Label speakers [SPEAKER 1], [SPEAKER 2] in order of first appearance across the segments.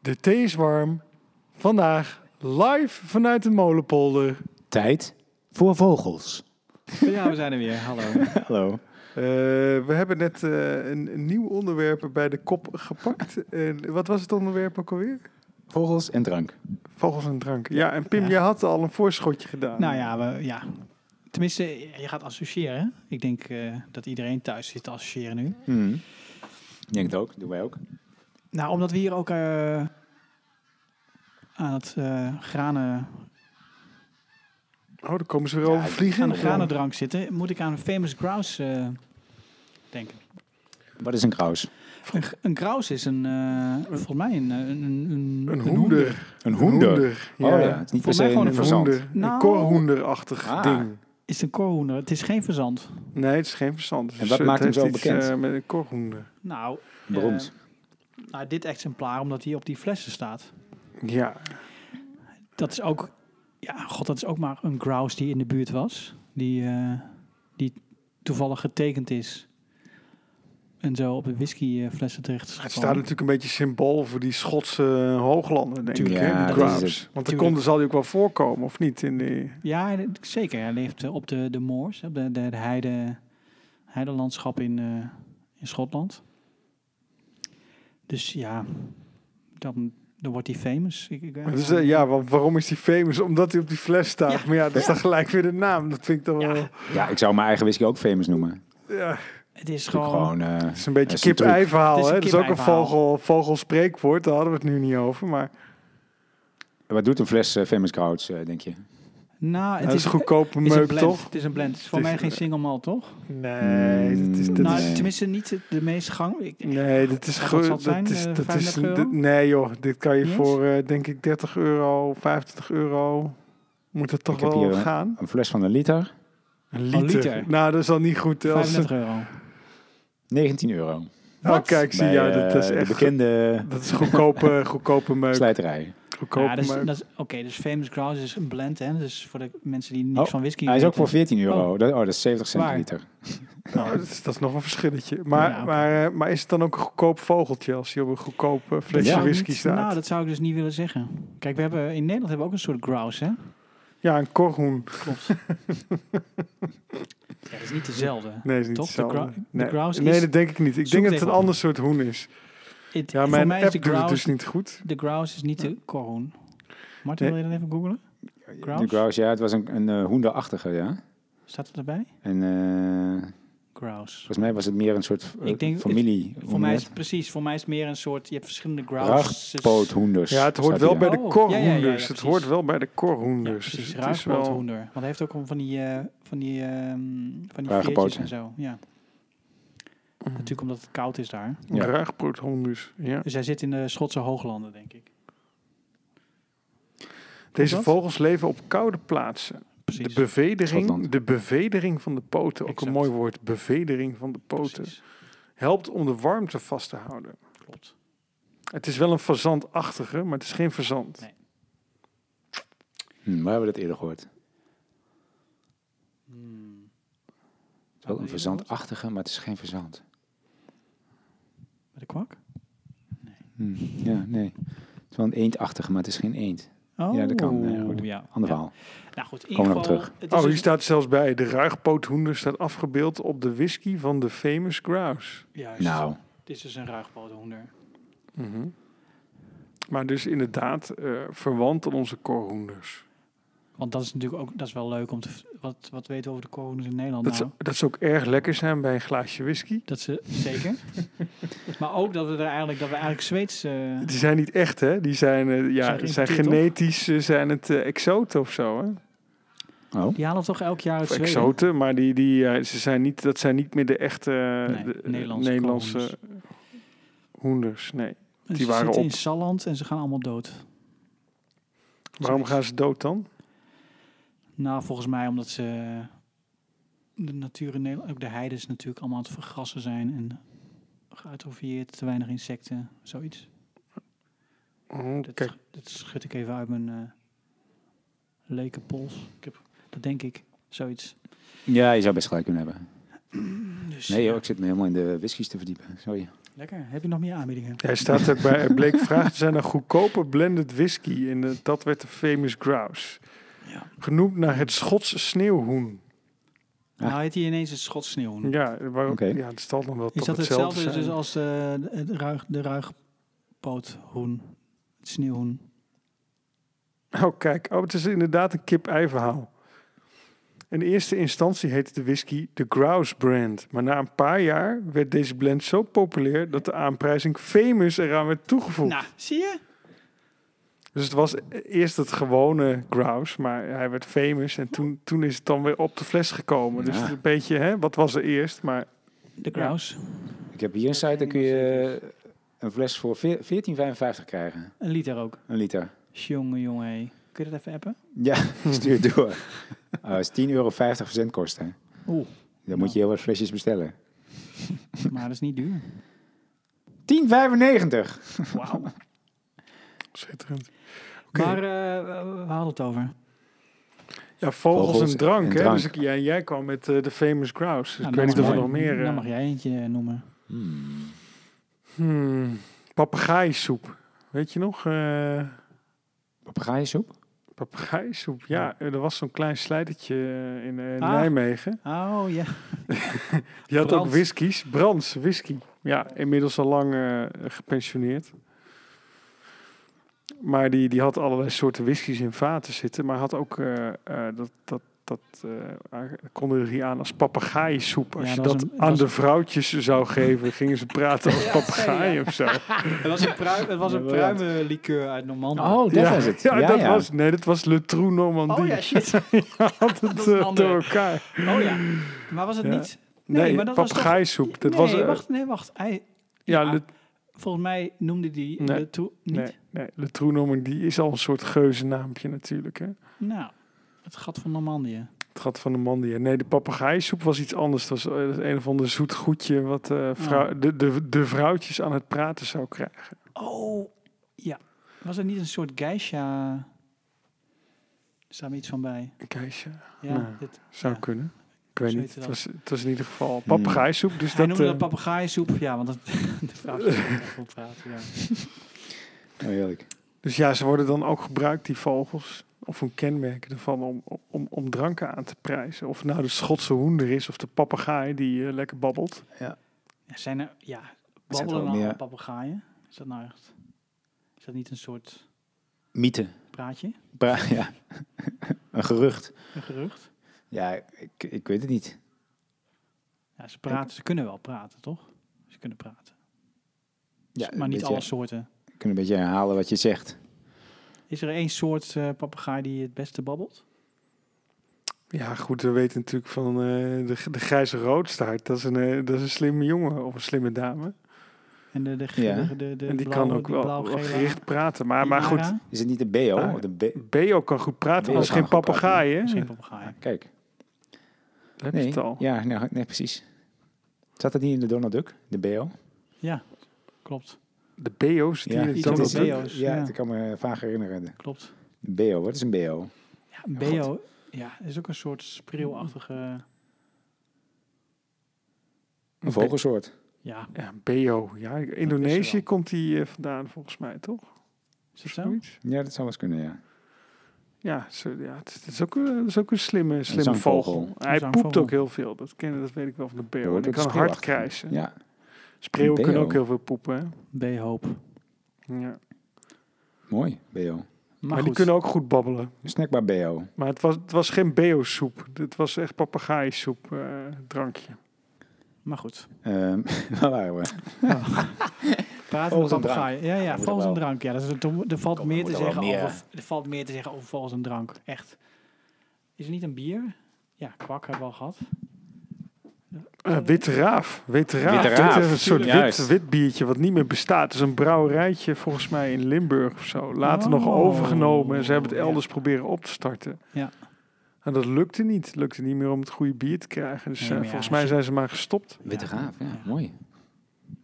[SPEAKER 1] De thee is warm. Vandaag live vanuit de molenpolder.
[SPEAKER 2] Tijd voor vogels.
[SPEAKER 3] Ja, Nou, we zijn er weer. Hallo.
[SPEAKER 2] Hallo.
[SPEAKER 1] Eh, we hebben net eh, een, een nieuw onderwerp bij de kop gepakt. En wat was het onderwerp ook alweer?
[SPEAKER 2] Vogels en drank.
[SPEAKER 1] Vogels en drank. Ja, en Pim,
[SPEAKER 3] Ja.
[SPEAKER 1] jij had al een voorschotje gedaan.
[SPEAKER 3] nou ja, we, ja, tenminste, eh, je gaat associëren. hè? Ik denk eh, dat iedereen thuis zit te associëren nu.
[SPEAKER 2] Hmm. Ik denk het ook. Doen wij ook.
[SPEAKER 3] Nou, omdat we hier ook eh, aan het eh, granen,
[SPEAKER 1] Oh, dan komen ze weer
[SPEAKER 2] Ja,
[SPEAKER 1] over vliegen.
[SPEAKER 3] aan de granendrank zitten, moet ik aan Famous Grouse eh, denken.
[SPEAKER 2] Wat is een kraus?
[SPEAKER 3] Een, g- een grouse is een, eh, volgens mij een, een, een,
[SPEAKER 1] Een hoender.
[SPEAKER 2] Een
[SPEAKER 1] Ja.
[SPEAKER 2] Oh ja, het is niet per
[SPEAKER 3] Volgens
[SPEAKER 2] se
[SPEAKER 3] mij gewoon
[SPEAKER 2] een
[SPEAKER 1] Een
[SPEAKER 2] verzand.
[SPEAKER 1] hoender. Een
[SPEAKER 3] Nou.
[SPEAKER 1] korhoenderachtig
[SPEAKER 2] Ah.
[SPEAKER 1] ding.
[SPEAKER 3] Is het een koolhoender? Het is geen verzand.
[SPEAKER 1] Nee, het is geen verstand.
[SPEAKER 2] En wat maakt hem zo bekend?
[SPEAKER 1] eh, met een korhoender.
[SPEAKER 3] Nou,
[SPEAKER 2] Beroemd.
[SPEAKER 3] eh, nou, dit exemplaar, omdat hij op die flessen staat.
[SPEAKER 1] Ja.
[SPEAKER 3] Dat is ook, ja, god, dat is ook maar een grouse die in de buurt was. Die, eh, die toevallig getekend is. En zo op de whiskyflessen terecht is
[SPEAKER 1] Het staat
[SPEAKER 3] gekomen.
[SPEAKER 1] natuurlijk een beetje symbool voor die Schotse eh, hooglanden, denk
[SPEAKER 2] Tuurlijk,
[SPEAKER 1] ik.
[SPEAKER 2] ja,
[SPEAKER 1] Hè? Die
[SPEAKER 2] dat is
[SPEAKER 1] Grabs.
[SPEAKER 2] het.
[SPEAKER 1] Want de
[SPEAKER 3] Tuurlijk.
[SPEAKER 1] konden zal die ook wel voorkomen, of niet? In die...
[SPEAKER 3] Ja, en het- zeker. Hij leeft eh, op de, de moors, op de, de, de heide, heidelandschap in, eh, in Schotland. Dus ja, dan, dan wordt hij famous. Ik, ik, weet
[SPEAKER 1] Dus,
[SPEAKER 3] niet.
[SPEAKER 1] eh, ja, want waarom is die famous? Omdat hij op die fles staat.
[SPEAKER 3] Ja.
[SPEAKER 1] Maar ja, dat is dan gelijk weer de naam. Dat vind ik dan
[SPEAKER 3] Ja. Oh.
[SPEAKER 1] wel...
[SPEAKER 2] Ja, ik zou mijn eigen whisky ook famous noemen.
[SPEAKER 1] Ja,
[SPEAKER 3] het is
[SPEAKER 2] Gewoon,
[SPEAKER 3] gewoon...
[SPEAKER 2] gewoon eh,
[SPEAKER 1] het is een beetje
[SPEAKER 2] Dat is een
[SPEAKER 1] kip-ei verhaal.
[SPEAKER 3] Het
[SPEAKER 1] hè?
[SPEAKER 3] is een
[SPEAKER 1] Dat is ook een
[SPEAKER 3] kip-ei-verhaal.
[SPEAKER 1] vogel, vogelspreekwoord. Daar hadden we het nu niet over. Maar
[SPEAKER 2] wat doet een fles eh, famous krauts, eh, denk je?
[SPEAKER 3] Nou,
[SPEAKER 1] het
[SPEAKER 3] het
[SPEAKER 1] is een
[SPEAKER 3] is,
[SPEAKER 1] goedkope
[SPEAKER 3] is een
[SPEAKER 1] meuk,
[SPEAKER 3] blend.
[SPEAKER 1] toch?
[SPEAKER 3] Het is een blend. Het is voor
[SPEAKER 1] Het is-
[SPEAKER 3] mij geen single malt, toch?
[SPEAKER 1] Nee, dat is... Dat
[SPEAKER 3] nou,
[SPEAKER 1] is...
[SPEAKER 3] tenminste niet de- de meest gang. Ik,
[SPEAKER 1] Nee, dit is
[SPEAKER 3] Wat
[SPEAKER 1] goed.
[SPEAKER 3] zal
[SPEAKER 1] Dat
[SPEAKER 3] het zijn?
[SPEAKER 1] is,
[SPEAKER 3] Eh,
[SPEAKER 1] dat is,
[SPEAKER 3] 35 euro?
[SPEAKER 1] dit- nee joh, dit kan je
[SPEAKER 3] Niet eens?
[SPEAKER 1] voor eh, denk ik 30 euro, 25 euro. Moet het toch
[SPEAKER 2] Ik heb
[SPEAKER 1] wel
[SPEAKER 2] hier, eh,
[SPEAKER 1] gaan?
[SPEAKER 2] Een fles van een liter,
[SPEAKER 1] Een
[SPEAKER 3] een
[SPEAKER 1] liter.
[SPEAKER 3] liter.
[SPEAKER 1] Nou, dat is al niet goed. Als
[SPEAKER 3] 35 euro.
[SPEAKER 2] 19 euro.
[SPEAKER 1] Oh,
[SPEAKER 3] Wat?
[SPEAKER 1] kijk, zie
[SPEAKER 2] Bij,
[SPEAKER 1] ja, dat
[SPEAKER 2] eh,
[SPEAKER 1] is echt.
[SPEAKER 2] De bekende
[SPEAKER 1] Dat is goedkope, goedkope meuk.
[SPEAKER 2] slijterij.
[SPEAKER 1] Goedkope
[SPEAKER 3] ja, dat is,
[SPEAKER 1] meuk.
[SPEAKER 3] dat is- Oké, dus Famous Grouse is een blend, hè? Dus voor de mensen die niks
[SPEAKER 2] Oh,
[SPEAKER 3] van whisky
[SPEAKER 2] Hij is ook voor
[SPEAKER 3] weten.
[SPEAKER 2] 14 euro. Dat, oh, dat is 70 cent
[SPEAKER 3] Waar?
[SPEAKER 2] een liter.
[SPEAKER 1] Nou, dat, is, dat is nog een verschilletje. Maar,
[SPEAKER 3] Ja, oké.
[SPEAKER 1] maar, eh, maar is het dan ook een goedkoop vogeltje als hij op een goedkoop eh,
[SPEAKER 3] Dat
[SPEAKER 1] flesje
[SPEAKER 3] zou
[SPEAKER 1] whisky
[SPEAKER 3] niet-
[SPEAKER 1] staat?
[SPEAKER 3] Nou, dat zou ik dus niet willen zeggen. Kijk, we hebben, in Nederland hebben we ook een soort grouse, hè?
[SPEAKER 1] Ja, een korhoen.
[SPEAKER 3] Klopt. ja, dat is niet dezelfde.
[SPEAKER 1] Nee, is niet
[SPEAKER 3] Toch? De
[SPEAKER 1] hetzelfde.
[SPEAKER 3] grou- de
[SPEAKER 1] nee.
[SPEAKER 3] grouse
[SPEAKER 1] nee,
[SPEAKER 3] is-
[SPEAKER 1] dat denk ik niet. Ik
[SPEAKER 3] Zoek
[SPEAKER 1] denk dat het
[SPEAKER 3] het
[SPEAKER 1] een
[SPEAKER 3] even op.
[SPEAKER 1] ander soort hoen is.
[SPEAKER 3] Het-
[SPEAKER 1] Ja,
[SPEAKER 3] voor
[SPEAKER 1] mijn
[SPEAKER 3] mij is
[SPEAKER 1] app
[SPEAKER 3] de
[SPEAKER 1] doet het
[SPEAKER 3] grouse,
[SPEAKER 1] dus niet goed.
[SPEAKER 3] de grouse is niet de korhoen. Martin,
[SPEAKER 1] Nee.
[SPEAKER 3] wil je dan even googlen?
[SPEAKER 2] De
[SPEAKER 3] Grouse?
[SPEAKER 2] grouse, ja, het was een, een eh, hoenderachtige, ja.
[SPEAKER 3] Staat het erbij?
[SPEAKER 2] En eh,
[SPEAKER 3] Grouse.
[SPEAKER 2] volgens mij was het meer een soort eh,
[SPEAKER 3] Ik denk-
[SPEAKER 2] familie.
[SPEAKER 3] Voor mij is het precies, voor mij is het meer een soort, je hebt verschillende grouses.
[SPEAKER 2] Rachtpoothoenders.
[SPEAKER 1] Ja, het hoort
[SPEAKER 2] Dus staat
[SPEAKER 1] wel
[SPEAKER 2] hier.
[SPEAKER 1] bij de
[SPEAKER 3] Oh,
[SPEAKER 1] korhoenders.
[SPEAKER 3] ja, ja, ja, ja,
[SPEAKER 1] het
[SPEAKER 3] precies.
[SPEAKER 1] hoort wel bij de
[SPEAKER 3] Ja,
[SPEAKER 1] korhoenders.
[SPEAKER 3] precies.
[SPEAKER 1] Dus het is wel...
[SPEAKER 3] Ruigbroodhoender. Want hij heeft ook allemaal van die, eh, van die, ehm, van die
[SPEAKER 2] Ruige
[SPEAKER 3] veertjes
[SPEAKER 2] poten.
[SPEAKER 3] en zo. Ja. Natuurlijk omdat het koud is daar.
[SPEAKER 2] Ja.
[SPEAKER 1] Ruigbroodhoenders, ja.
[SPEAKER 3] Dus hij zit in de Schotse hooglanden, denk ik.
[SPEAKER 1] Deze
[SPEAKER 3] dat?
[SPEAKER 1] vogels leven op koude plaatsen.
[SPEAKER 3] Precies.
[SPEAKER 1] De bevedering,
[SPEAKER 2] Schotland.
[SPEAKER 1] de bevedering van de poten, ook
[SPEAKER 3] Exact.
[SPEAKER 1] een mooi woord, bevedering van de poten,
[SPEAKER 3] Precies.
[SPEAKER 1] helpt om de warmte vast te houden.
[SPEAKER 3] Klopt.
[SPEAKER 1] Het is wel een fazantachtige, maar het is geen fazant.
[SPEAKER 3] Nee.
[SPEAKER 2] Hm, waar hebben we dat eerder gehoord? Het
[SPEAKER 3] Hmm.
[SPEAKER 2] is wel een verzandachtige, maar het is geen verzand.
[SPEAKER 3] Met de kwak?
[SPEAKER 2] Hm, Ja, nee. Het is wel een eendachtige, maar het is geen eend.
[SPEAKER 3] Oh,
[SPEAKER 2] Ja, dat kan, ja, goed.
[SPEAKER 3] ja.
[SPEAKER 2] Ander
[SPEAKER 3] Ja.
[SPEAKER 2] verhaal.
[SPEAKER 3] Nou goed, in ieder
[SPEAKER 2] Komen we
[SPEAKER 3] geval...
[SPEAKER 2] nog terug.
[SPEAKER 3] het is
[SPEAKER 1] Oh, hier
[SPEAKER 3] een-
[SPEAKER 1] staat zelfs bij, de ruigpoothoender staat afgebeeld op de whisky van de famous grouse.
[SPEAKER 3] Juist.
[SPEAKER 2] Nou,
[SPEAKER 3] Het is dus een ruigboothoender.
[SPEAKER 1] Mhm. Maar dus inderdaad eh, verwant aan onze korhoenders.
[SPEAKER 3] Want dat is natuurlijk ook dat is wel leuk om te... v- Wat, wat weten we over de korhoenders in Nederland
[SPEAKER 1] Dat,
[SPEAKER 3] nou?
[SPEAKER 1] ze, dat ze ook erg lekker zijn bij een glaasje whisky.
[SPEAKER 3] Dat ze... Zeker. maar ook dat we er eigenlijk... Dat we eigenlijk Zweeds... eh,
[SPEAKER 1] Die zijn niet echt, hè? Die zijn, eh, ja,
[SPEAKER 3] Zijn
[SPEAKER 1] zijn
[SPEAKER 3] geïmporteerd,
[SPEAKER 1] genetisch, eh, zijn het eh, exoten of zo, hè?
[SPEAKER 2] oh,
[SPEAKER 3] Die halen toch elk jaar uit
[SPEAKER 1] Of
[SPEAKER 3] Zweden?
[SPEAKER 1] exoten, maar die, die, eh, ze zijn niet, dat zijn niet meer de echte eh,
[SPEAKER 3] Nee,
[SPEAKER 1] de, eh,
[SPEAKER 3] Nederlandse
[SPEAKER 1] Nederlandse hoenders. Nee.
[SPEAKER 3] En
[SPEAKER 1] die
[SPEAKER 3] ze
[SPEAKER 1] waren
[SPEAKER 3] zitten
[SPEAKER 1] op.
[SPEAKER 3] in Salland en ze gaan allemaal dood.
[SPEAKER 1] Waarom gaan ze dood dan?
[SPEAKER 3] Nou, volgens mij omdat ze eh, de natuur in Nederland, ook de heides natuurlijk allemaal aan het vergrassen zijn en geatrofieerd, te weinig insecten, zoiets.
[SPEAKER 1] Oh,
[SPEAKER 3] Dat,
[SPEAKER 1] kijk,
[SPEAKER 3] dat schud ik even uit mijn eh leke pols. Ik heb, dat denk ik, zoiets.
[SPEAKER 2] ja, je zou best gelijk kunnen hebben.
[SPEAKER 3] Dus,
[SPEAKER 2] Nee,
[SPEAKER 3] ja.
[SPEAKER 2] joh, ik zit me helemaal in de whiskies te verdiepen. Sorry.
[SPEAKER 3] Lekker. Heb je nog meer aanbiedingen?
[SPEAKER 1] Hij staat ook bij, er bleek vraag te zijn naar goedkope blended whisky. En eh, dat werd de famous grouse.
[SPEAKER 3] Ja.
[SPEAKER 1] Genoemd naar het Schots sneeuwhoen.
[SPEAKER 2] Ah.
[SPEAKER 3] Nou heet hij ineens een Schots sneeuw.
[SPEAKER 1] Ja, waarom,
[SPEAKER 2] Oké.
[SPEAKER 1] ja het zal dan wel
[SPEAKER 3] Is
[SPEAKER 1] toch
[SPEAKER 3] dat
[SPEAKER 1] hetzelfde,
[SPEAKER 3] hetzelfde dus
[SPEAKER 1] zijn.
[SPEAKER 3] als eh, het ruig, de ruigpoothoen? Het sneeuwhoen.
[SPEAKER 1] Oh, kijk. Oh, het is inderdaad een kip-ei verhaal. In eerste instantie heette de whisky de Grouse Brand. Maar na een paar jaar werd deze blend zo populair... dat de aanprijzing Famous eraan werd toegevoegd.
[SPEAKER 3] Nou, zie je?
[SPEAKER 1] Dus het was eerst het gewone Grouse, maar hij werd famous. En toen, toen is het dan weer op de fles gekomen. Dus
[SPEAKER 2] Ja.
[SPEAKER 1] het is een beetje, hè, wat was er eerst? Maar
[SPEAKER 3] De Kraus.
[SPEAKER 2] Ik heb hier een site, dan kun je eh, een fles voor veer- 14,55 krijgen.
[SPEAKER 3] Een liter ook.
[SPEAKER 2] Een liter.
[SPEAKER 3] Jongen, jongen. hé. Kun je dat even appen?
[SPEAKER 2] Ja, stuur door. Ah, Dat is 10,50 euro verzendkosten.
[SPEAKER 3] Oeh,
[SPEAKER 2] Dan moet je heel wat flesjes bestellen.
[SPEAKER 3] maar dat is niet duur.
[SPEAKER 2] 10,95.
[SPEAKER 3] Wauw.
[SPEAKER 1] schitterend. Oké.
[SPEAKER 3] Maar eh, we- we hadden het over.
[SPEAKER 1] Ja, vogels,
[SPEAKER 2] Vogels
[SPEAKER 1] en drank.
[SPEAKER 2] en
[SPEAKER 1] hè?
[SPEAKER 2] drank.
[SPEAKER 1] Dus ik, jij, jij kwam met eh, de famous Grouse. Dus
[SPEAKER 3] Nou,
[SPEAKER 1] ik
[SPEAKER 3] dan
[SPEAKER 1] weet niet of er
[SPEAKER 3] mag jij-
[SPEAKER 1] nog meer...
[SPEAKER 3] Dan
[SPEAKER 1] eh,
[SPEAKER 3] mag jij eentje eh, noemen.
[SPEAKER 2] Hmm.
[SPEAKER 1] hmm, papegaaiensoep. Weet je nog? eh
[SPEAKER 2] Papegaaiensoep?
[SPEAKER 1] papegaaiensoep. Ja, eh, er was zo'n klein slijtertje eh, in eh,
[SPEAKER 3] Ah.
[SPEAKER 1] Nijmegen.
[SPEAKER 3] Oh ja.
[SPEAKER 1] Die had ook
[SPEAKER 3] Brands.
[SPEAKER 1] whiskies. Brands, whisky. Ja, inmiddels al lang eh, gepensioneerd. Maar die, die had allerlei soorten whiskies in vaten zitten. Maar had ook, eh, eh, dat, dat, dat eh, a- kondigde hij aan als papegaaiensoep. Als
[SPEAKER 3] Ja,
[SPEAKER 1] je
[SPEAKER 3] dat was
[SPEAKER 1] dat
[SPEAKER 3] een- dat
[SPEAKER 1] aan
[SPEAKER 3] was-
[SPEAKER 1] de vrouwtjes zou geven, gingen ze praten als papegaaien of zo.
[SPEAKER 3] Het was een, pruim, het was
[SPEAKER 2] een Briljant.
[SPEAKER 3] likeur uit Normandie.
[SPEAKER 2] Oh, dat
[SPEAKER 1] ja,
[SPEAKER 2] was het.
[SPEAKER 1] Ja, dat
[SPEAKER 2] ja.
[SPEAKER 1] was Nee, dat was Le Trou Normandie.
[SPEAKER 3] Oh, shit.
[SPEAKER 1] had
[SPEAKER 3] dat
[SPEAKER 1] het
[SPEAKER 3] is een
[SPEAKER 1] eh,
[SPEAKER 3] andere.
[SPEAKER 1] door elkaar.
[SPEAKER 3] Oh ja. Maar was het
[SPEAKER 1] Ja.
[SPEAKER 3] niet? Nee,
[SPEAKER 1] Nee,
[SPEAKER 3] maar dat was toch-
[SPEAKER 1] papegaaiensoep. Dat
[SPEAKER 3] nee,
[SPEAKER 1] was... eh,
[SPEAKER 3] wacht, nee, wacht. Hij,
[SPEAKER 1] ja,
[SPEAKER 3] ja.
[SPEAKER 1] Le
[SPEAKER 3] volgens mij noemde die
[SPEAKER 1] Nee.
[SPEAKER 3] de toe niet.
[SPEAKER 1] Nee, nee. Le Trou Normandie is al een soort geuzenaampje natuurlijk. Hè?
[SPEAKER 3] Nou, het gat van Normandië.
[SPEAKER 1] Het gat van de man die. Nee, de papegaaiensoep was iets anders. Dat was eh, een of ander zoet goedje wat eh, vrou- de, de, de vrouwtjes aan het praten zou krijgen.
[SPEAKER 3] Oh, ja. Was het niet een soort geisha? Er staat me iets van bij.
[SPEAKER 1] Keisje,
[SPEAKER 3] Ja,
[SPEAKER 1] Nou,
[SPEAKER 3] dit,
[SPEAKER 1] zou
[SPEAKER 3] ja.
[SPEAKER 1] kunnen. Ik weet
[SPEAKER 3] Zo
[SPEAKER 1] niet.
[SPEAKER 3] heette
[SPEAKER 1] Het
[SPEAKER 3] dat. Hmm.
[SPEAKER 1] was, het was in ieder geval papegaaiensoep. Dus dat,
[SPEAKER 3] Hij noemde
[SPEAKER 1] eh,
[SPEAKER 3] dat papegaaiensoep. Ja, want dat, de vrouw is echt goed praten. Ja.
[SPEAKER 2] Oh, heerlijk.
[SPEAKER 1] dus ja, ze worden dan ook gebruikt, die vogels. Of hun kenmerken ervan om, om, om dranken aan te prijzen. Of nou de Schotse hoender is of de papegaai die eh, lekker babbelt.
[SPEAKER 3] Ja, Zijn er, ja,
[SPEAKER 2] Is dat
[SPEAKER 3] babbelen
[SPEAKER 2] ook
[SPEAKER 3] nou
[SPEAKER 2] meer-
[SPEAKER 3] al papegaaien? Is dat nou echt... Is dat niet een soort
[SPEAKER 2] Mythe.
[SPEAKER 3] praatje?
[SPEAKER 2] Pra- ja. een gerucht.
[SPEAKER 3] Een gerucht?
[SPEAKER 2] Ja, ik, ik weet het niet.
[SPEAKER 3] Ja, ze praten. Ze kunnen wel praten, toch? Ze kunnen praten.
[SPEAKER 2] Ja,
[SPEAKER 3] maar
[SPEAKER 2] een
[SPEAKER 3] niet
[SPEAKER 2] beetje-
[SPEAKER 3] alle soorten.
[SPEAKER 2] Ik kan een beetje herhalen wat je zegt.
[SPEAKER 3] Is er één soort eh papegaai die het beste babbelt?
[SPEAKER 1] Ja, goed, we weten natuurlijk van eh, de, de grijze roodstaart. Dat is, een, eh, dat is een slimme jongen of een slimme dame.
[SPEAKER 3] En de, de,
[SPEAKER 2] Ja.
[SPEAKER 3] de, de, de
[SPEAKER 1] en die
[SPEAKER 3] blauwe-
[SPEAKER 1] kan ook
[SPEAKER 3] die
[SPEAKER 1] wel, wel
[SPEAKER 3] blauw-gele
[SPEAKER 1] gericht praten. Maar, maar goed,
[SPEAKER 3] Imara?
[SPEAKER 2] Is het niet een BO?
[SPEAKER 1] Ah.
[SPEAKER 2] of een B-
[SPEAKER 1] Beo kan goed praten,
[SPEAKER 2] Beo
[SPEAKER 1] anders
[SPEAKER 2] kan
[SPEAKER 1] geen
[SPEAKER 2] goed
[SPEAKER 1] papegaai, hè?
[SPEAKER 3] Dat is geen
[SPEAKER 1] Daar
[SPEAKER 3] papegaai.
[SPEAKER 2] Kijk.
[SPEAKER 1] Heb je
[SPEAKER 2] Nee,
[SPEAKER 1] het al.
[SPEAKER 2] ja, nou, nee, precies. Zat dat niet in de Donald Duck, de BO?
[SPEAKER 3] Ja, klopt.
[SPEAKER 1] De Beo's die in het
[SPEAKER 3] iets
[SPEAKER 2] dat
[SPEAKER 1] Donald
[SPEAKER 2] is
[SPEAKER 3] met
[SPEAKER 1] Duck-
[SPEAKER 3] Beo. BO's,
[SPEAKER 2] Ja,
[SPEAKER 3] ja.
[SPEAKER 2] dat kan me vaag herinneren.
[SPEAKER 3] Klopt.
[SPEAKER 2] BO, wat is een BO?
[SPEAKER 3] Ja, BO ja, is ook een soort spreeuwachtige...
[SPEAKER 2] Een vogelsoort.
[SPEAKER 3] Ja,
[SPEAKER 1] Ja, Beo. Ja,
[SPEAKER 3] is er
[SPEAKER 1] Indonesië
[SPEAKER 3] wel.
[SPEAKER 1] komt die eh, vandaan volgens mij, toch?
[SPEAKER 3] is dat zo?
[SPEAKER 1] Zoiets?
[SPEAKER 2] Ja, dat zou wel eens kunnen, ja.
[SPEAKER 1] Ja, zo, ja het, is, het is ook, een- het is ook een slimme, slimme
[SPEAKER 2] zangvogel.
[SPEAKER 1] vogel.
[SPEAKER 3] Een
[SPEAKER 1] Hij poept
[SPEAKER 3] zangvogel.
[SPEAKER 1] ook heel veel. Dat, kennen, dat weet ik wel van de Beo.
[SPEAKER 2] Hoor,
[SPEAKER 1] En die
[SPEAKER 2] dat
[SPEAKER 1] kan
[SPEAKER 2] is
[SPEAKER 1] hard
[SPEAKER 2] speelachtig.
[SPEAKER 1] krijsen.
[SPEAKER 2] Ja,
[SPEAKER 1] Spreeuwen kunnen
[SPEAKER 2] Beo.
[SPEAKER 1] ook heel veel poepen,
[SPEAKER 3] B-hoop.
[SPEAKER 1] hè? Ja.
[SPEAKER 2] mooi, BO.
[SPEAKER 3] Maar,
[SPEAKER 1] Maar die
[SPEAKER 3] goed.
[SPEAKER 1] kunnen ook goed babbelen.
[SPEAKER 2] Een snackbar BO.
[SPEAKER 1] Maar het was, het was geen beo-soep. Het was echt papegaaiensoep eh, drankje.
[SPEAKER 3] maar goed.
[SPEAKER 2] Ehm, waar waren we?
[SPEAKER 3] Praten met
[SPEAKER 2] Volgens een
[SPEAKER 3] papegaaien. Ja, ja,
[SPEAKER 2] moet
[SPEAKER 3] volgens
[SPEAKER 2] er
[SPEAKER 3] een
[SPEAKER 2] wel.
[SPEAKER 3] drank. Ja, dat is, er, er valt
[SPEAKER 2] Kom, er
[SPEAKER 3] meer
[SPEAKER 2] moet
[SPEAKER 3] te
[SPEAKER 2] er wel
[SPEAKER 3] zeggen
[SPEAKER 2] meer. eh,
[SPEAKER 3] over, er valt meer te zeggen over volgens een drank. Echt. Is het niet een bier? Ja, kwak hebben we al gehad.
[SPEAKER 1] Eh witte raaf. Witte raaf.
[SPEAKER 2] Witte
[SPEAKER 1] Dit is
[SPEAKER 2] Raaf,
[SPEAKER 1] een soort wit,
[SPEAKER 2] juist.
[SPEAKER 1] wit biertje wat niet meer bestaat. Het is een brouwerijtje volgens mij in Limburg of zo. Later nog
[SPEAKER 3] Oh.
[SPEAKER 1] overgenomen en ze hebben het
[SPEAKER 3] Ja.
[SPEAKER 1] elders proberen op te starten.
[SPEAKER 3] Ja.
[SPEAKER 1] En dat lukte niet. Het lukte niet meer om het goede bier te krijgen. Dus
[SPEAKER 3] Nee,
[SPEAKER 1] eh,
[SPEAKER 3] maar ja,
[SPEAKER 1] volgens
[SPEAKER 3] als
[SPEAKER 1] mij
[SPEAKER 3] je-
[SPEAKER 1] zijn ze maar gestopt.
[SPEAKER 2] Witte Raaf, ja,
[SPEAKER 3] Ja.
[SPEAKER 2] mooi.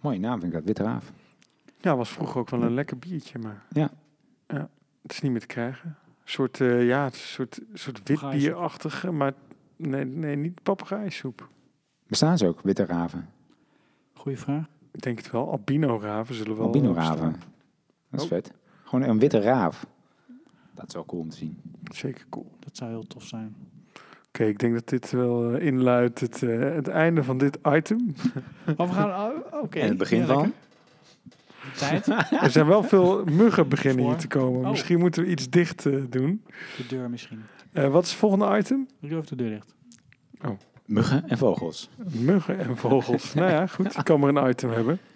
[SPEAKER 2] Mooie naam vind ik dat, Witte Raaf.
[SPEAKER 1] Ja, was vroeger ook wel een lekker biertje, maar
[SPEAKER 2] Ja.
[SPEAKER 1] Ja, het is niet meer te krijgen. Een soort, eh, ja, het is een soort, soort wit
[SPEAKER 3] Papegaaiensoep.
[SPEAKER 1] bierachtige, maar nee, nee niet papegaaiensoep.
[SPEAKER 2] Bestaan ze ook, Witte Raven?
[SPEAKER 3] Goeie vraag.
[SPEAKER 1] Ik denk het wel. Albino-raven zullen wel...
[SPEAKER 2] Albino
[SPEAKER 1] bestaan.
[SPEAKER 2] raven. Dat is
[SPEAKER 1] Oh.
[SPEAKER 2] vet. Gewoon een witte raaf. Dat is wel cool om te zien.
[SPEAKER 1] Zeker cool. Oké,
[SPEAKER 3] Dat zou heel tof zijn.
[SPEAKER 1] ik denk dat dit wel eh, inluidt het, eh, het einde van dit item.
[SPEAKER 3] Oh, we gaan... oh, Oké.
[SPEAKER 2] en het begin
[SPEAKER 3] Ja,
[SPEAKER 2] van?
[SPEAKER 3] lekker. Tijd.
[SPEAKER 1] Er zijn wel veel muggen beginnen hier
[SPEAKER 3] Voor.
[SPEAKER 1] te komen.
[SPEAKER 3] Oh.
[SPEAKER 1] Misschien moeten we iets dicht eh, doen.
[SPEAKER 3] De deur misschien.
[SPEAKER 1] Eh, wat is het volgende item?
[SPEAKER 3] Ik doe even de deur dicht.
[SPEAKER 2] Muggen en vogels.
[SPEAKER 1] Muggen en vogels. nou ja, goed. Ik kan maar een item hebben.